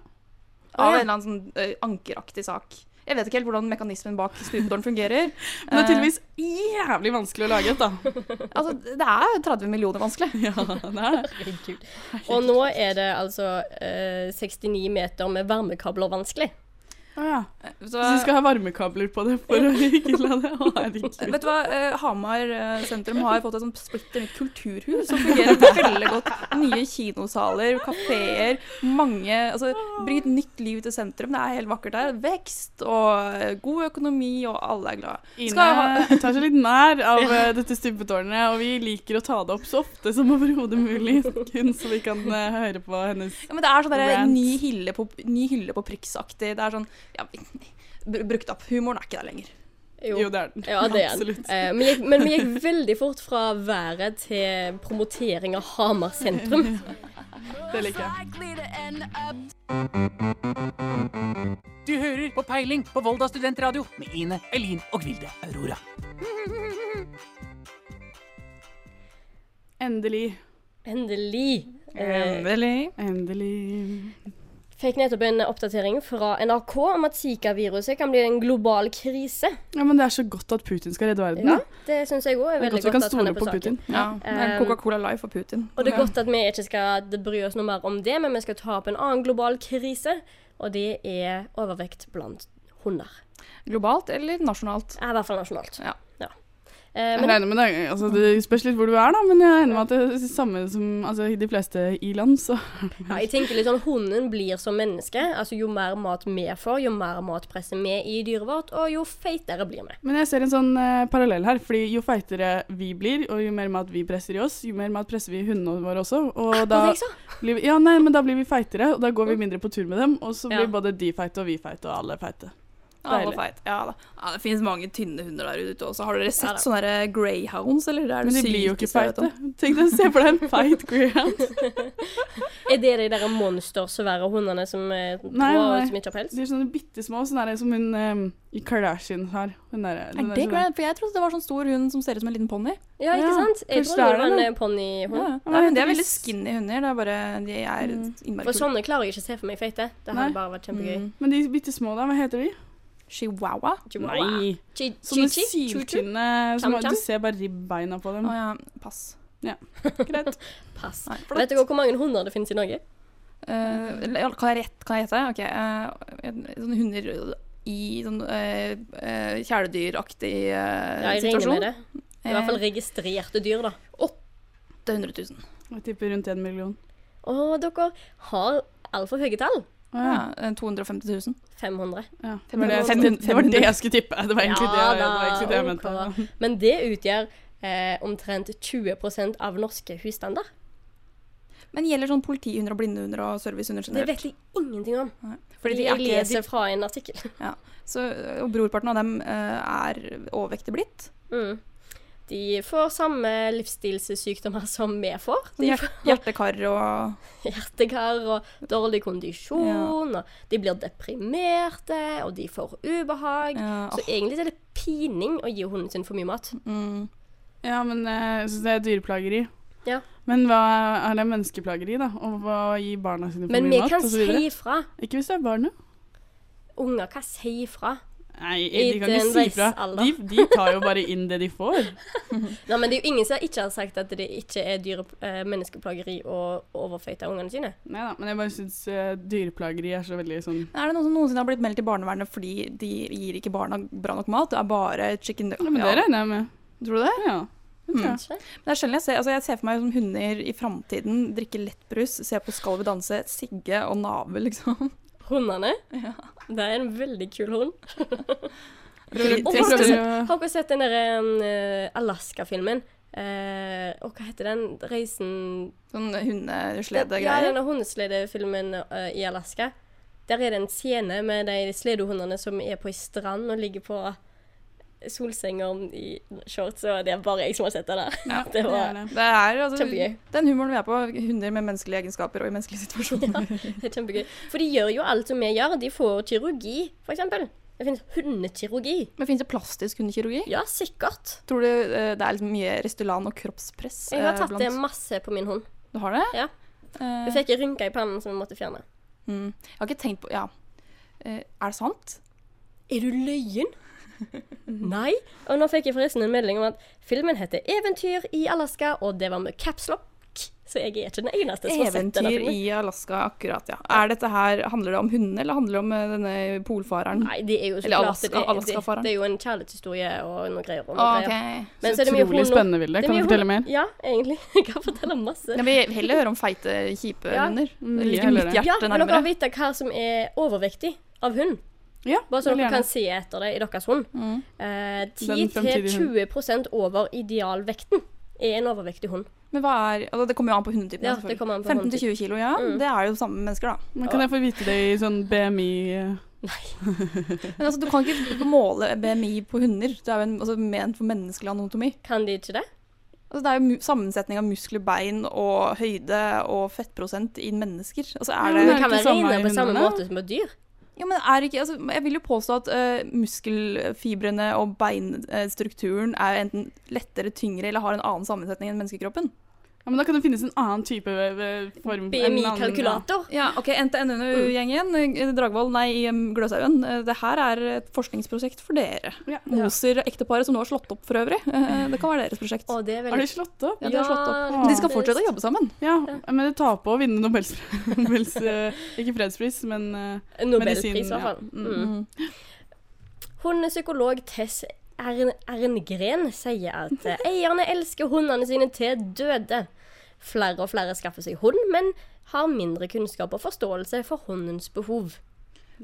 A: Å, ja.
B: Av en eller annen sånn eh, ankeraktig sak. Jeg vet ikke helt hvordan mekanismen bak stupetårn fungerer.
C: Men det er tydeligvis jævlig vanskelig å lage et, da.
B: Eh, altså, det er 30 millioner vanskelig.
C: Ja, det er det.
A: Herregud. Og nå er det altså eh, 69 meter med varmekabler vanskelig.
C: Å ja.
B: Så,
C: Så de skal ha varmekabler på det for å ikke la det Å, herregud.
B: Vet du hva, eh, Hamar eh, sentrum har fått et sånt splitter nytt kulturhus som fungerer veldig godt. Nye kinosaler, kafeer, mange Altså, bring et nytt liv til sentrum. Det er helt vakkert der. Vekst og eh, god økonomi, og alle er glade.
C: Ine
B: Skal jeg ha-
C: tar seg litt nær av eh, dette stupetårnet, og vi liker å ta det opp så ofte som overhodet mulig, kun så vi kan eh, høre på hennes
B: Ja, men det er sånn der,
C: Rant.
B: ny, hylle på, ny hylle på Prix-aktig. Det er sånn ja, br- Brukt opp. Humoren er ikke der lenger.
C: Jo, det er den.
A: Ja, det er den.
C: Absolutt.
A: Eh, men, gikk, men vi gikk veldig fort fra været til promotering av Hamar sentrum.
C: Det liker jeg.
D: Du hører på Peiling på Volda studentradio med Ine, Elin og Vilde Aurora.
C: Endelig.
A: Endelig. Eh,
B: Endelig.
C: Endelig.
A: fikk nettopp en oppdatering fra NRK om at Zika-viruset kan bli en global krise.
C: Ja, men det er så godt at Putin skal redde verden.
A: Ja,
C: da.
A: det syns jeg òg er
C: Det er
A: veldig
C: godt vi
A: godt,
C: kan
A: at han
C: stole
A: er på,
C: på
A: saken.
C: Putin.
B: Ja. Um,
A: Eh,
B: Coca-Cola Live for Putin.
A: Og det er godt at vi ikke skal bry oss noe mer om det, men vi skal ta opp en annen global krise, og det er overvekt blant hunder.
B: Globalt eller nasjonalt?
A: Eh, I hvert fall nasjonalt.
B: Ja.
A: Eh,
C: Jeg
A: men
C: regner med det, altså det spørs litt hvor du er, da, men jeg regner med at det er det samme som altså, i de fleste i-land, så
A: Ja, jeg tenker litt sånn, Hunden blir som menneske. altså Jo mer mat vi får, jo mer mat presser vi i dyret vårt, og jo feitere blir vi.
C: Men jeg ser en sånn eh, parallell her, fordi jo feitere vi blir, og jo mer mat vi presser i oss, jo mer mat presser vi i hundene våre også. Og
A: Hva
C: da,
A: tenker jeg så?
C: blir vi, ja, nei, men da blir vi feitere, og da går vi
B: Mm.
C: mindre på tur med dem, og så
A: Ja.
C: blir både de feite og vi feite og alle feite.
B: Alle
C: Deilig.
B: feit. Ja, da. ja, det finnes mange tynne hunder der ute også. Har dere sett
A: Ja, da.
B: sånne der eh, greyhounds, eller? Det er
C: Men
B: det
C: de blir jo ikke
B: sykeste jeg vet
C: feite.
B: om.
C: Tenk deg, se for deg en feit greyhound.
A: Er det de der monstersvære hundene som eh,
C: Nei,
A: drar
C: nei.
A: ut som ikke har pels?
C: De er sånne bitte små, sånn der som hun eh, i Kardashian har. Hun der, den
B: Er
C: der
B: det
C: sånn-
B: grey? For jeg trodde det var sånn stor hund som ser ut som en liten ponni.
A: Ja, ikke
C: Ja,
A: sant? Jeg
C: kanskje
A: tror det
C: det er
A: var
C: det,
A: en ponnihund.
B: Ja.
C: Ja,
B: Nei, men
C: det
B: de
C: er
B: er veldig Mm.
C: visst.
B: skinny hunder. Det er bare, de er innmari
A: For sånne klarer jeg ikke å se for meg feite. Det hadde
C: Nei.
A: bare vært kjempegøy.
B: Mm.
C: Men de bitte små, da, hva heter de?
B: Chihuahua.
A: Chihuahua. Chi-
C: Sånne
A: Chi-chi? Chu-chu?
C: syltynne som
A: Cham-cham?
C: Du ser bare ribbeina på dem.
B: Å ja, pass. Greit.
A: Pass.
B: Nei, flott.
A: Vet dere hvor mange hunder det finnes i Norge?
B: Eh, eller, kan jeg rett, kan jeg gjette? Ok, eh, en- sånne hunder i sånn eh, eh, kjæledyraktig eh,
A: Ja, jeg regner
B: situasjon.
A: med det. I hvert
C: Eh.
A: fall registrerte dyr, da.
B: 800 000.
C: Jeg tipper rundt én million.
A: Å, dere har altfor høye tall.
C: Å, ja.
B: Ja, eh, 250 000.
A: 500.
C: Ja. Det, var det, jeg,
B: Fem-
C: det var det
B: 500.
C: jeg skulle tippe. Det var egentlig,
A: Ja
C: det, det, var
A: da,
C: egentlig det jeg
A: ok.
C: mente.
A: Men det utgjør eh, omtrent 20 av norske husstander.
B: Men gjelder sånn politihunder og blindehunder og servicehunder
A: Det
B: generelt?
A: vet jeg ingenting om.
B: Nei,
A: Fordi
B: Fordi de er
A: jeg
B: ikke
A: leser fra en artikkel.
B: de- Så, og brorparten av dem eh, er overvektig blitt.
A: Mm. De får samme livsstilssykdommer som vi får. De
B: Hjert, hjertekar og
A: får hjertekar og dårlig kondisjon, og de blir deprimerte, og de får ubehag.
B: ja,
A: Så egentlig så er det pining å gi hunden sin for mye mat.
B: mm.
C: Ja, men eh, jeg syns det er dyreplageri.
A: Ja.
C: Men hva er det menneskeplageri, da? Og hva gir barna sine for
A: Men vi
C: mye mat?
A: kan
C: og så videre?
A: si fra.
C: Ikke hvis det er barnet.
A: Unger kan si fra.
C: Nei,
A: I
C: de kan
A: den
C: ikke si fra.
A: veisalder.
C: De, de tar jo bare inn det de får.
A: Nei, men det er jo ingen som ikke har sagt at det ikke er dyre, eh, menneskeplageri å overføyte ungene sine.
C: Nei da, men jeg bare syns eh, dyreplageri er så veldig sånn
B: Er det noen som noensinne har blitt meldt til barnevernet fordi de gir ikke barna bra nok mat? Det er bare chicken
C: Ja, men det regner jeg med.
B: Tror du det?
C: Ja.
B: Mm.
A: Kanskje?
B: Det er sjelden jeg ser, altså jeg ser for meg som hunder i framtiden drikke lettbrus, se på Skal vi danse, sigge og nave, liksom.
A: Hundene. Det er en veldig kul hund.
C: Prøver,
A: Og
C: prøver,
A: hvordan
C: prøver,
A: Har dere sett den der eh, Alaska-filmen? Eh, og hva heter den reisen
B: Sånn
A: Ja,
B: hundesledegreier.
A: denne hundesledefilmen eh, i Alaska. Der er det en scene med de sledehundene som er på ei strand og ligger på solsenger i shorts, og det er bare jeg som har sett det der.
C: ja,
A: det var-
C: er det.
B: Det er altså,
A: Kjempegøy.
B: den humoren vi er på. Hunder med menneskelige egenskaper og i menneskelige situasjoner.
A: Det er kjempegøy. For de gjør jo alt som vi gjør. De får kirurgi, f.eks. Det finnes hundekirurgi.
B: Men fins det plastisk hundekirurgi?
A: Ja, sikkert.
B: Tror du eh, det er liksom mye Restylan og kroppspress?
A: Jeg har
B: eh,
A: tatt
B: blant-
A: det masse på min hund.
B: Du har det?
A: Ja.
B: Eh,
A: Jeg fikk en rynke i pannen som jeg måtte fjerne.
B: mm. Jeg har ikke tenkt på Ja. Eh, er det sant?
A: Er du løyen? Nei. Og nå fikk jeg forresten en melding om at filmen heter 'Eventyr i Alaska', og det var med capslock, så jeg er ikke den eneste som har sett denne
B: Eventyr
A: filmen.
B: i Alaska, akkurat, ja. Er dette her, Handler det om hundene, eller handler det om eh, denne polfareren?
A: Nei, det er jo så
B: Eller
A: klart
B: Alaska-
A: det, er-
B: Alaska-faren.
A: det, det er jo en kjærlighetshistorie og noe greier. Og noe
B: Å,
A: greier.
B: ok.
A: Men
C: Så utrolig
A: hund-
C: spennende, Vilde.
A: det er
C: Kan
A: mye
C: du fortelle
A: hund-
C: mer?
A: Ja, egentlig. Jeg kan fortelle masse.
B: Jeg vil heller høre om feite, kjipe
A: Ja.
B: hunder.
C: Mm,
B: Litt,
C: heller
B: litt
C: det.
A: Ja,
B: hjerte
A: men dere
B: nærmere.
A: har vite hva som er overvektig av hund.
C: Ja,
A: Bare så
C: veldig
A: dere
C: gjerne.
A: kan se etter det i deres hund.
B: Mm.
A: Eh,
C: Den fremtidige hunden.
A: 10-20 over idealvekten er en overvektig hund.
B: Men hva er, altså det kommer jo an på Mm. hundetypen.
A: Ja,
B: selvfølgelig.
A: det kommer an på
B: 15-20 kilo, ja. Det er jo samme mennesker, da.
C: Men kan jeg få vite det i sånn BMI eh,
B: Men altså, du kan ikke du kan måle BMI på hunder. Det er jo en, altså, ment for menneskelig anatomi.
A: Kan de ikke det?
B: Altså, det er jo mu- sammensetning av muskler, bein og høyde og fettprosent i mennesker. Altså, er
C: Ja,
B: det,
A: Men
C: er
A: kan
C: det
A: man
C: ikke samme
A: regne
C: i
A: på samme
C: hundene?
A: måte som på dyr?
B: ja, men er det ikke, altså, jeg vil jo påstå at eh, muskelfibrene og beinstrukturen er enten lettere, tyngre eller har en annen sammensetning enn menneskekroppen.
C: Ja, men da kan det finnes en annen type eh, form en annen-
A: BMI-kalkulator?
B: Ja, ok, NTNU-gjengen, eh, Dragvoll, nei, eh, Gløshaugen. eh, Det her er et forskningsprosjekt for dere.
C: Ja.
B: Moser-ekteparet som nå har slått opp for øvrig. eh, Det kan være deres prosjekt.
A: Å, det er
C: Ja. Har
A: veldig
C: de slått opp?
B: Ja, de har slått
A: Ja,
B: opp. Men de skal
A: det-
B: fortsette å jobbe sammen.
C: Ja, men det tar på å vinne Nobels, Nobels eh, Ikke fredspris, men eh,
A: Nobelpris, i hvert
C: Medisin, ja.
A: fall.
C: Mm.
A: Mm. Hun er psykolog Tess Ern- Erngren sier at eh, eierne elsker hundene sine til døde. Flere og flere skaffer seg hund, men har mindre kunnskap og forståelse for hundens behov.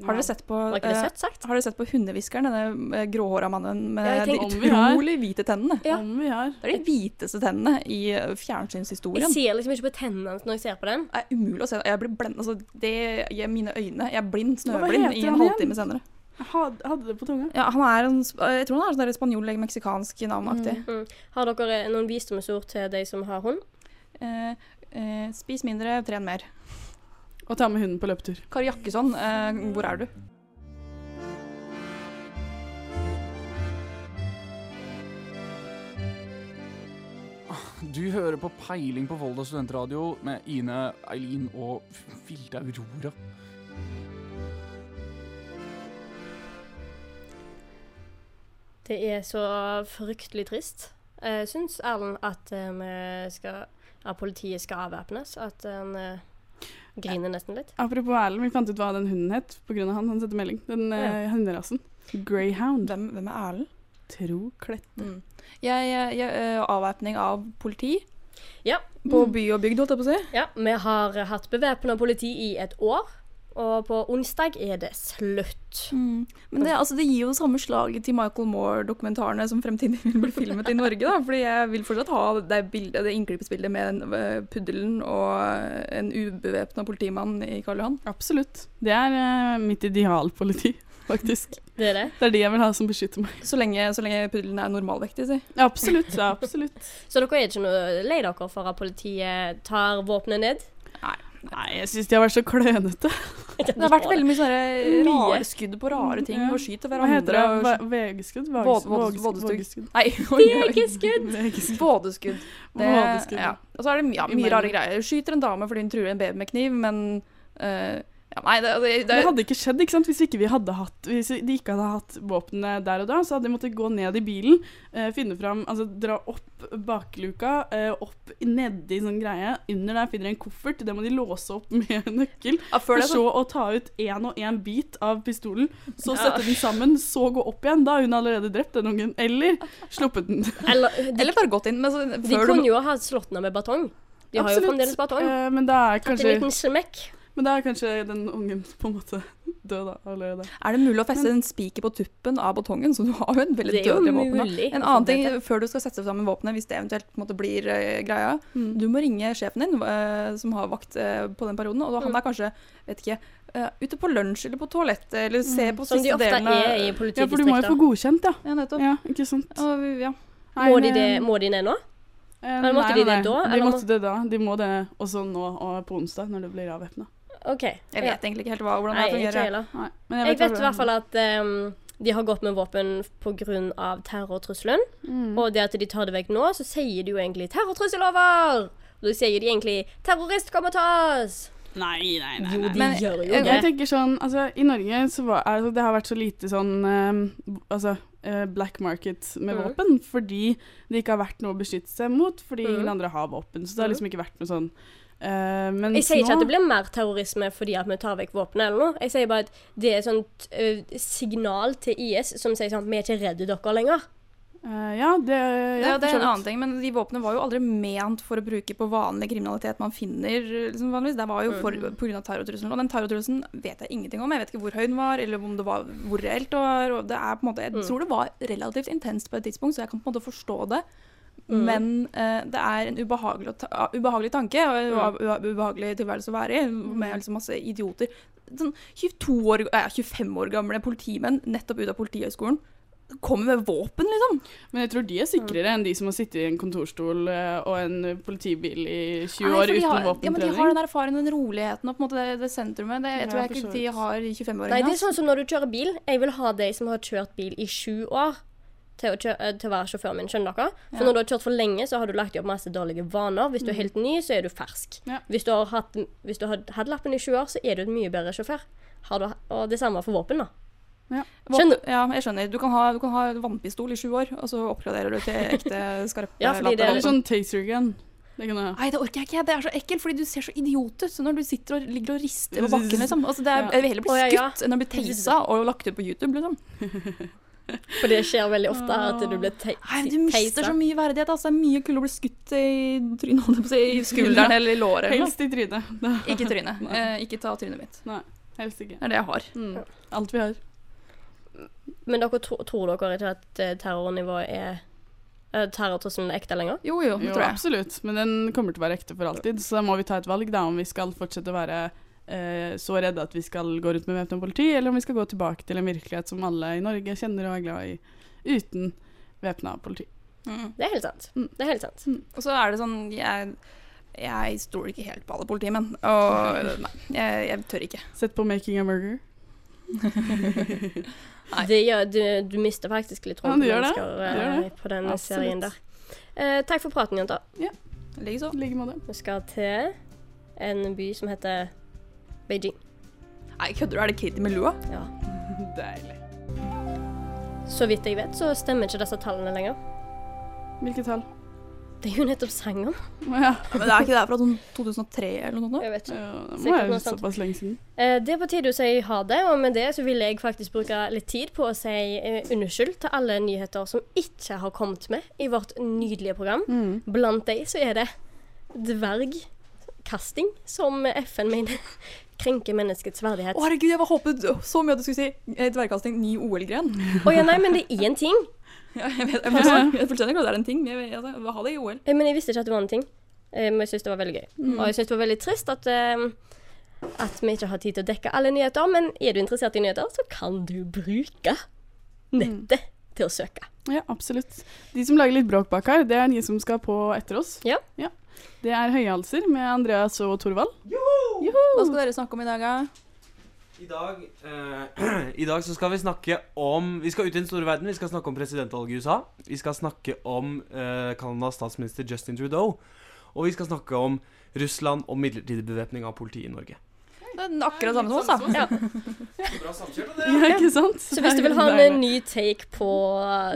B: Har dere sett på,
A: Var ikke det
B: eh,
A: søtt sagt?
B: har dere sett på Hundeviskeren, denne eh, gråhåra mannen med
A: Ja, jeg
B: de
C: tenkte- Om vi har.
B: utrolig hvite tennene?
A: Ja.
C: om vi har
B: Det er de hviteste tennene i eh,
A: Jeg
B: fjernsynshistorien.
A: ser liksom ikke på tennene hans når jeg ser på den.
B: Det er umulig å se. Jeg blir blend, altså, det gir mine øyne. Jeg er blind,
C: Hva
B: snøblind,
C: heter
B: i en
C: han igjen?
B: halvtime senere.
C: Had, Hadde det på tunga?
B: Ja, han er en, sp- eh, jeg tror han er sånn der spanjol eller meksikansk navnaktig.
A: Har dere eh, noen visdomsord til de som har hund?
B: Eh, eh, spis mindre, tren mer.
C: Og ta med hunden på løpetur.
B: Kari Jakkesson, eh, hvor er du?
D: Du hører på Peiling på Volda studentradio med Ine, Eileen og Vilde Aurora.
A: Det er så fryktelig trist Uh, syns Erlend at eh, vi skal, at politiet skal avvæpnes? At han eh, griner nesten litt?
C: Apropos Erlend, vi fant ut hva den hunden het pga. han. Han sendte melding. Den
A: Å, ja.
C: eh, hunderasen. Greyhound.
B: Hvem, hvem er Erlend?
C: Tro klett.
B: Mm. Jeg, jeg, jeg, eh, avvæpning av politi Mm.
A: Ja.
B: på by og bygd, holdt jeg på å si.
A: ja vi har hatt bevæpna politi i et år, og på onsdag er det slutt.
B: Men det, altså, det gir jo samme slaget til Michael Moore-dokumentarene som fremtidig vil bli filmet i Norge. Da, fordi jeg vil fortsatt ha det, bildet, det innklippsbildet med den, eh, puddelen og eh, en ubevæpna politimann i Karl Johan.
C: Absolutt. Det er eh, mitt idealpoliti, faktisk.
A: Det er det.
C: Det er de jeg vil ha som beskytter meg.
B: Så lenge, så lenge puddelen er normalvektig, si.
C: Ja, absolutt. Ja, absolutt.
A: Så dere er ikke noe lei dere for at politiet tar våpenet ned?
C: Nei, jeg syns de har vært så klønete.
B: Det har vært veldig mye sånne rare skudd på rare ting
C: Ja.
B: og skyter
C: Hva
B: hverandre.
C: heter det?
B: og
C: Va- Vegeskudd?
B: Våd-
C: Vages-
B: vådes-
C: vågeskudd?
B: vådestygg.
C: Vågeskudd.
B: Nei,
A: Vegeskudd!
C: Vegeskudd.
B: Vådeskudd. Det,
C: Vådeskudd.
B: ja. Og så er det my- ja, mye
C: Imellom.
B: rare greier. Skyter en dame fordi hun truer en baby med kniv, men eh, ja, Nei, det, det,
C: Det
B: det,
C: hadde ikke skjedd ikke sant? hvis, ikke vi hadde hatt, hvis de ikke hadde hatt våpnene der og da. Så hadde de måttet gå ned i bilen, eh, finne fram, altså dra opp bakluka, eh, opp nedi sånn greie. Under der finner de en koffert, det må de låse opp med en nøkkel.
B: ja, før
C: For
B: det, så
C: så å ta ut én og én bit av pistolen, så
A: Ja.
C: sette den sammen, så gå opp igjen. Da har hun allerede drept den ungen. Eller sluppet den.
A: Eller, de,
B: Eller bare gått inn. Men så,
A: de
B: før
A: kunne
B: du,
A: jo ha slått den med batong. De har jo
C: Absolutt.
A: fremdeles batong.
C: Eh, men, da er
A: Tatt en
C: kanskje,
A: liten smekk.
C: men da er kanskje den ungen på en måte død da, allerede.
B: er det mulig å feste en spiker på tuppen av batongen? Så du har jo en veldig
A: Det er jo
B: dødelig våpen. da.
A: mulig.
B: En annen ting eh, før du skal sette sammen våpenet, hvis det eventuelt på en måte, blir eh, greia,
C: Mm.
B: du må ringe sjefen din, eh, som har vakt eh, på den perioden, og da- han
A: Mm.
B: er kanskje, vet ikke, eh, ute på lunsj eller på toalettet, eller se på
A: Mm, Som de
B: siste
A: ofte
B: delen av
A: er i
C: Ja, for du må jo
A: politidistrikter.
C: få godkjent, ja.
B: Ja, nettopp.
C: Ja, ikke sant.
B: Ja, vi- ja.
A: Må de det, må de ned nå?
C: Eller
A: måtte de det da,
C: De
A: eller
C: måtte det da. De må det også nå og på onsdag, når det blir avvæpna.
A: OK.
B: Jeg
A: Ja.
B: vet egentlig ikke helt hva, hvordan
A: Nei,
B: det
A: ikke
B: fungerer.
A: heller.
C: Men
A: Jeg vet i hvert fall at ehm, de har gått med våpen pga. terrortrusselen. Og det at de tar det vekk nå, så sier de jo egentlig 'terrortrussel over'! Og da sier de egentlig 'terrorist kommer til oss'!
C: Nei, nei, nei.
A: Jo, de
B: Men-
A: gjør jo
B: jeg-
C: Jeg
A: det.
C: tenker sånn, altså I Norge så var altså, det har vært så lite sånn eh, altså, eh, black market med
A: Mhm.
C: våpen fordi det ikke har vært noe å beskytte seg mot, fordi
A: Mhm.
C: ingen andre har våpen. Så det har liksom ikke vært noe sånn eh, Men
A: Mm. Jeg sier ikke
C: nå-
A: at det blir mer terrorisme fordi at vi tar vekk våpenet eller noe. Jeg sier bare at det er et sånt eh, signal til IS som sier sånn 'Vi er ikke redde dere lenger'.
C: Eh, Ja, det
B: Ja, det er en
C: for så vidt.
B: annen ting, men de våpnene var jo aldri ment for å bruke på vanlig kriminalitet man finner liksom vanligvis. Det var jo for-
C: Mm.
B: på grunn av terrortrusselen, og den terrortrusselen vet jeg ingenting om. Jeg vet ikke hvor høy den var, eller om det var hvor reelt det var. Og det er på en måte,
C: Mm.
B: jeg tror det var relativt intenst på et tidspunkt, så jeg kan på en måte forstå det.
C: Mm.
B: Men eh, det er en ubehagelig, å ta ah, ubehagelig tanke og
C: Mm.
B: en ua- ua- ubehagelig tilværelse å være i, med liksom masse idioter. Sånn 22 år, eh, 25 år gamle politimenn nettopp ut av Politihøgskolen kommer med våpen, liksom.
C: Men jeg tror de er sikrere enn de som har sittet i en kontorstol eh, og en politibil i 20
B: Nei,
C: år
B: for de
C: uten
B: har- Ja, men de har
C: våpentrening.
B: den der erfaringen, den roligheten og på en måte det, det sentrumet. Det, jeg
C: Ja,
B: tror jeg
C: for
B: ikke
C: så
B: de
C: vidt.
B: har i 25-åringene.
A: Nei, det er
B: altså.
A: sånn som når du kjører bil. Jeg vil ha de som har kjørt bil i sju år til å, kjø eh, til å være sjåføren min, skjønner dere? For
B: Ja. Mm.
A: når du har kjørt for lenge, så har du lagt opp masse dårlige vaner. Hvis du er helt ny, så er du fersk.
C: Ja.
A: Hvis du har hatt, hvis du har hatt lappen i sju år, så er du en mye bedre sjåfør. Har du, og det samme for våpen, da.
B: Våpen-
A: skjønner
B: Ja, jeg skjønner. Du kan ha, du kan ha vannpistol i sju år, og så oppgraderer du til ekte skarpe
A: Ja, fordi det er
B: later.
C: Eller sånn taser gun. Det kan jeg ha.
B: Nei, det orker jeg ikke. Det er så ekkelt, fordi du ser så idiot ut så når du sitter og ligger og rister på bakken. liksom. Altså, det er, Jeg
C: Ja.
B: vil heller bli
A: Å, ja,
B: skutt
A: ja.
B: enn å bli teisa og lagt ut på YouTube. liksom.
A: For det skjer veldig ofte at du blir te
B: Nei, Du mister
A: teisa.
B: så mye verdighet. altså. Det er mye kulere å bli skutt i trynet, holdt jeg på å si, i skulderen eller i låret. eller noe.
C: Helst i trynet. Da-
B: Ikke i trynet. Eh, ikke ta trynet mitt.
C: Helst ikke.
B: Det er det jeg har.
C: Mm. Alt vi har.
A: Men dere tro, tror dere ikke at eh, terrornivået er eh, Terrortrusselen er ekte lenger?
B: Jo, jo, det
C: Jo,
B: tror jeg.
C: absolutt. Men den kommer til å være ekte for alltid. Så da må vi ta et valg da, om vi skal fortsette å være eh, så redde at vi skal gå rundt med væpnet politi, eller om vi skal gå tilbake til en virkelighet som alle i Norge kjenner og er glad i, uten væpna politi.
B: Mm.
A: Det er helt sant.
C: Mm.
A: Det er helt sant.
B: Og så er det sånn Jeg, jeg stoler ikke helt på alle politimenn. Og nei, jeg, jeg tør ikke.
C: Sett på 'Making a Murder'.
B: Nei.
A: Det gjør, du, du mister faktisk litt
C: Ja,
A: troen på
C: det gjør det.
A: mennesker
C: Det gjør
A: eh,
C: det.
A: på den
C: Absolutt.
A: serien der. Eh, takk for praten, jenter.
B: Likeså.
C: I like måte.
A: Vi skal til en by som heter Beijing.
B: Nei, kødder du? Er det Katie med lua?
A: Ja.
C: Deilig.
A: Så vidt jeg vet, så stemmer ikke disse tallene lenger.
C: Hvilket tall?
A: Det er jo nettopp sang om.
C: Ja,
B: Men det er ikke det fra sånn 2003 eller noe sånt? nå?
A: Jeg vet ikke.
C: ja, det må
A: Sikkert noe
C: være
A: sånt.
C: såpass lenge siden.
A: Eh, Det er på tide å si ha det, og med det så vil jeg faktisk bruke litt tid på å si eh, unnskyld til alle nyheter som ikke har kommet med i vårt nydelige program.
C: Mm.
A: Blant de så er det dvergkasting, som FN mener krenker menneskets verdighet.
B: Å herregud, jeg bare håpet så mye at du skulle si eh, dvergkasting, ny OL-gren.
A: Å ja, nei, men det er en ting.
B: Ja, jeg vet, jeg forstår, jeg forstår ikke at det er en ting, men jeg, altså, jeg, jeg vil ha det i OL.
A: Eh, Men jeg visste ikke at det var en ting. Eh, Men jeg syns det var veldig gøy. Og jeg syns det var veldig trist at, eh, at vi ikke har tid til å dekke alle nyheter. Men er du interessert i nyheter, så kan du bruke nettet til å søke.
C: Ja, absolutt. De som lager litt bråk bak her, det er de som skal på etter oss.
A: Ja.
C: Det er Høyhalser med Andreas og Torvald.
B: Hva skal dere snakke om i dag, da?
G: I dag, eh, I dag så skal vi snakke om Vi skal ut i den store verden. Vi skal snakke om presidentvalget i USA. Vi skal snakke om eh, Canadas statsminister Justin Trudeau. Og vi skal snakke om Russland og midlertidig bevæpning av politiet i Norge.
B: Det er akkurat samme som oss, da.
A: Ja.
G: Bra samkjørt,
C: Ja, ikke sant?
A: Så hvis du vil ha en ny take på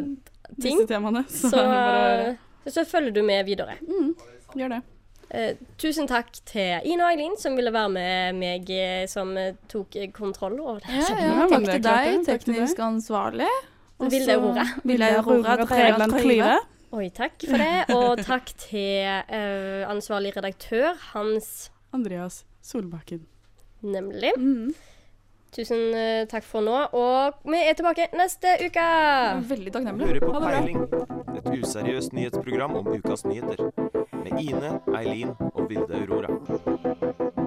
A: ting,
C: Disse temaene, så,
A: så,
C: er det
A: så følger du med videre.
C: bare, gjør det.
A: Eh, tusen takk til Ina og Eileen som ville være med meg, eh, som eh, tok eh, kontroll over det.
B: Ja,
C: ja,
B: ja,
C: men
B: takk
C: det er
B: til
C: klart
B: deg,
C: det. Takk til deg.
B: teknisk ansvarlig.
C: Og
A: Vilde
C: så-
A: Aurora.
B: Vilde Aurora
C: Træland
B: Træland
C: Klyve.
A: Oi, takk for det. Og takk til eh, ansvarlig redaktør, Hans
C: Andreas Solbakken.
A: Nemlig. Tusen eh, takk for nå, og vi er tilbake neste uke!
B: Veldig takknemlig.
H: Hører på
B: Ha det bra.
H: Peiling, et useriøst nyhetsprogram om ukas nyheter. Med Ine, Eileen og Vilde Aurora.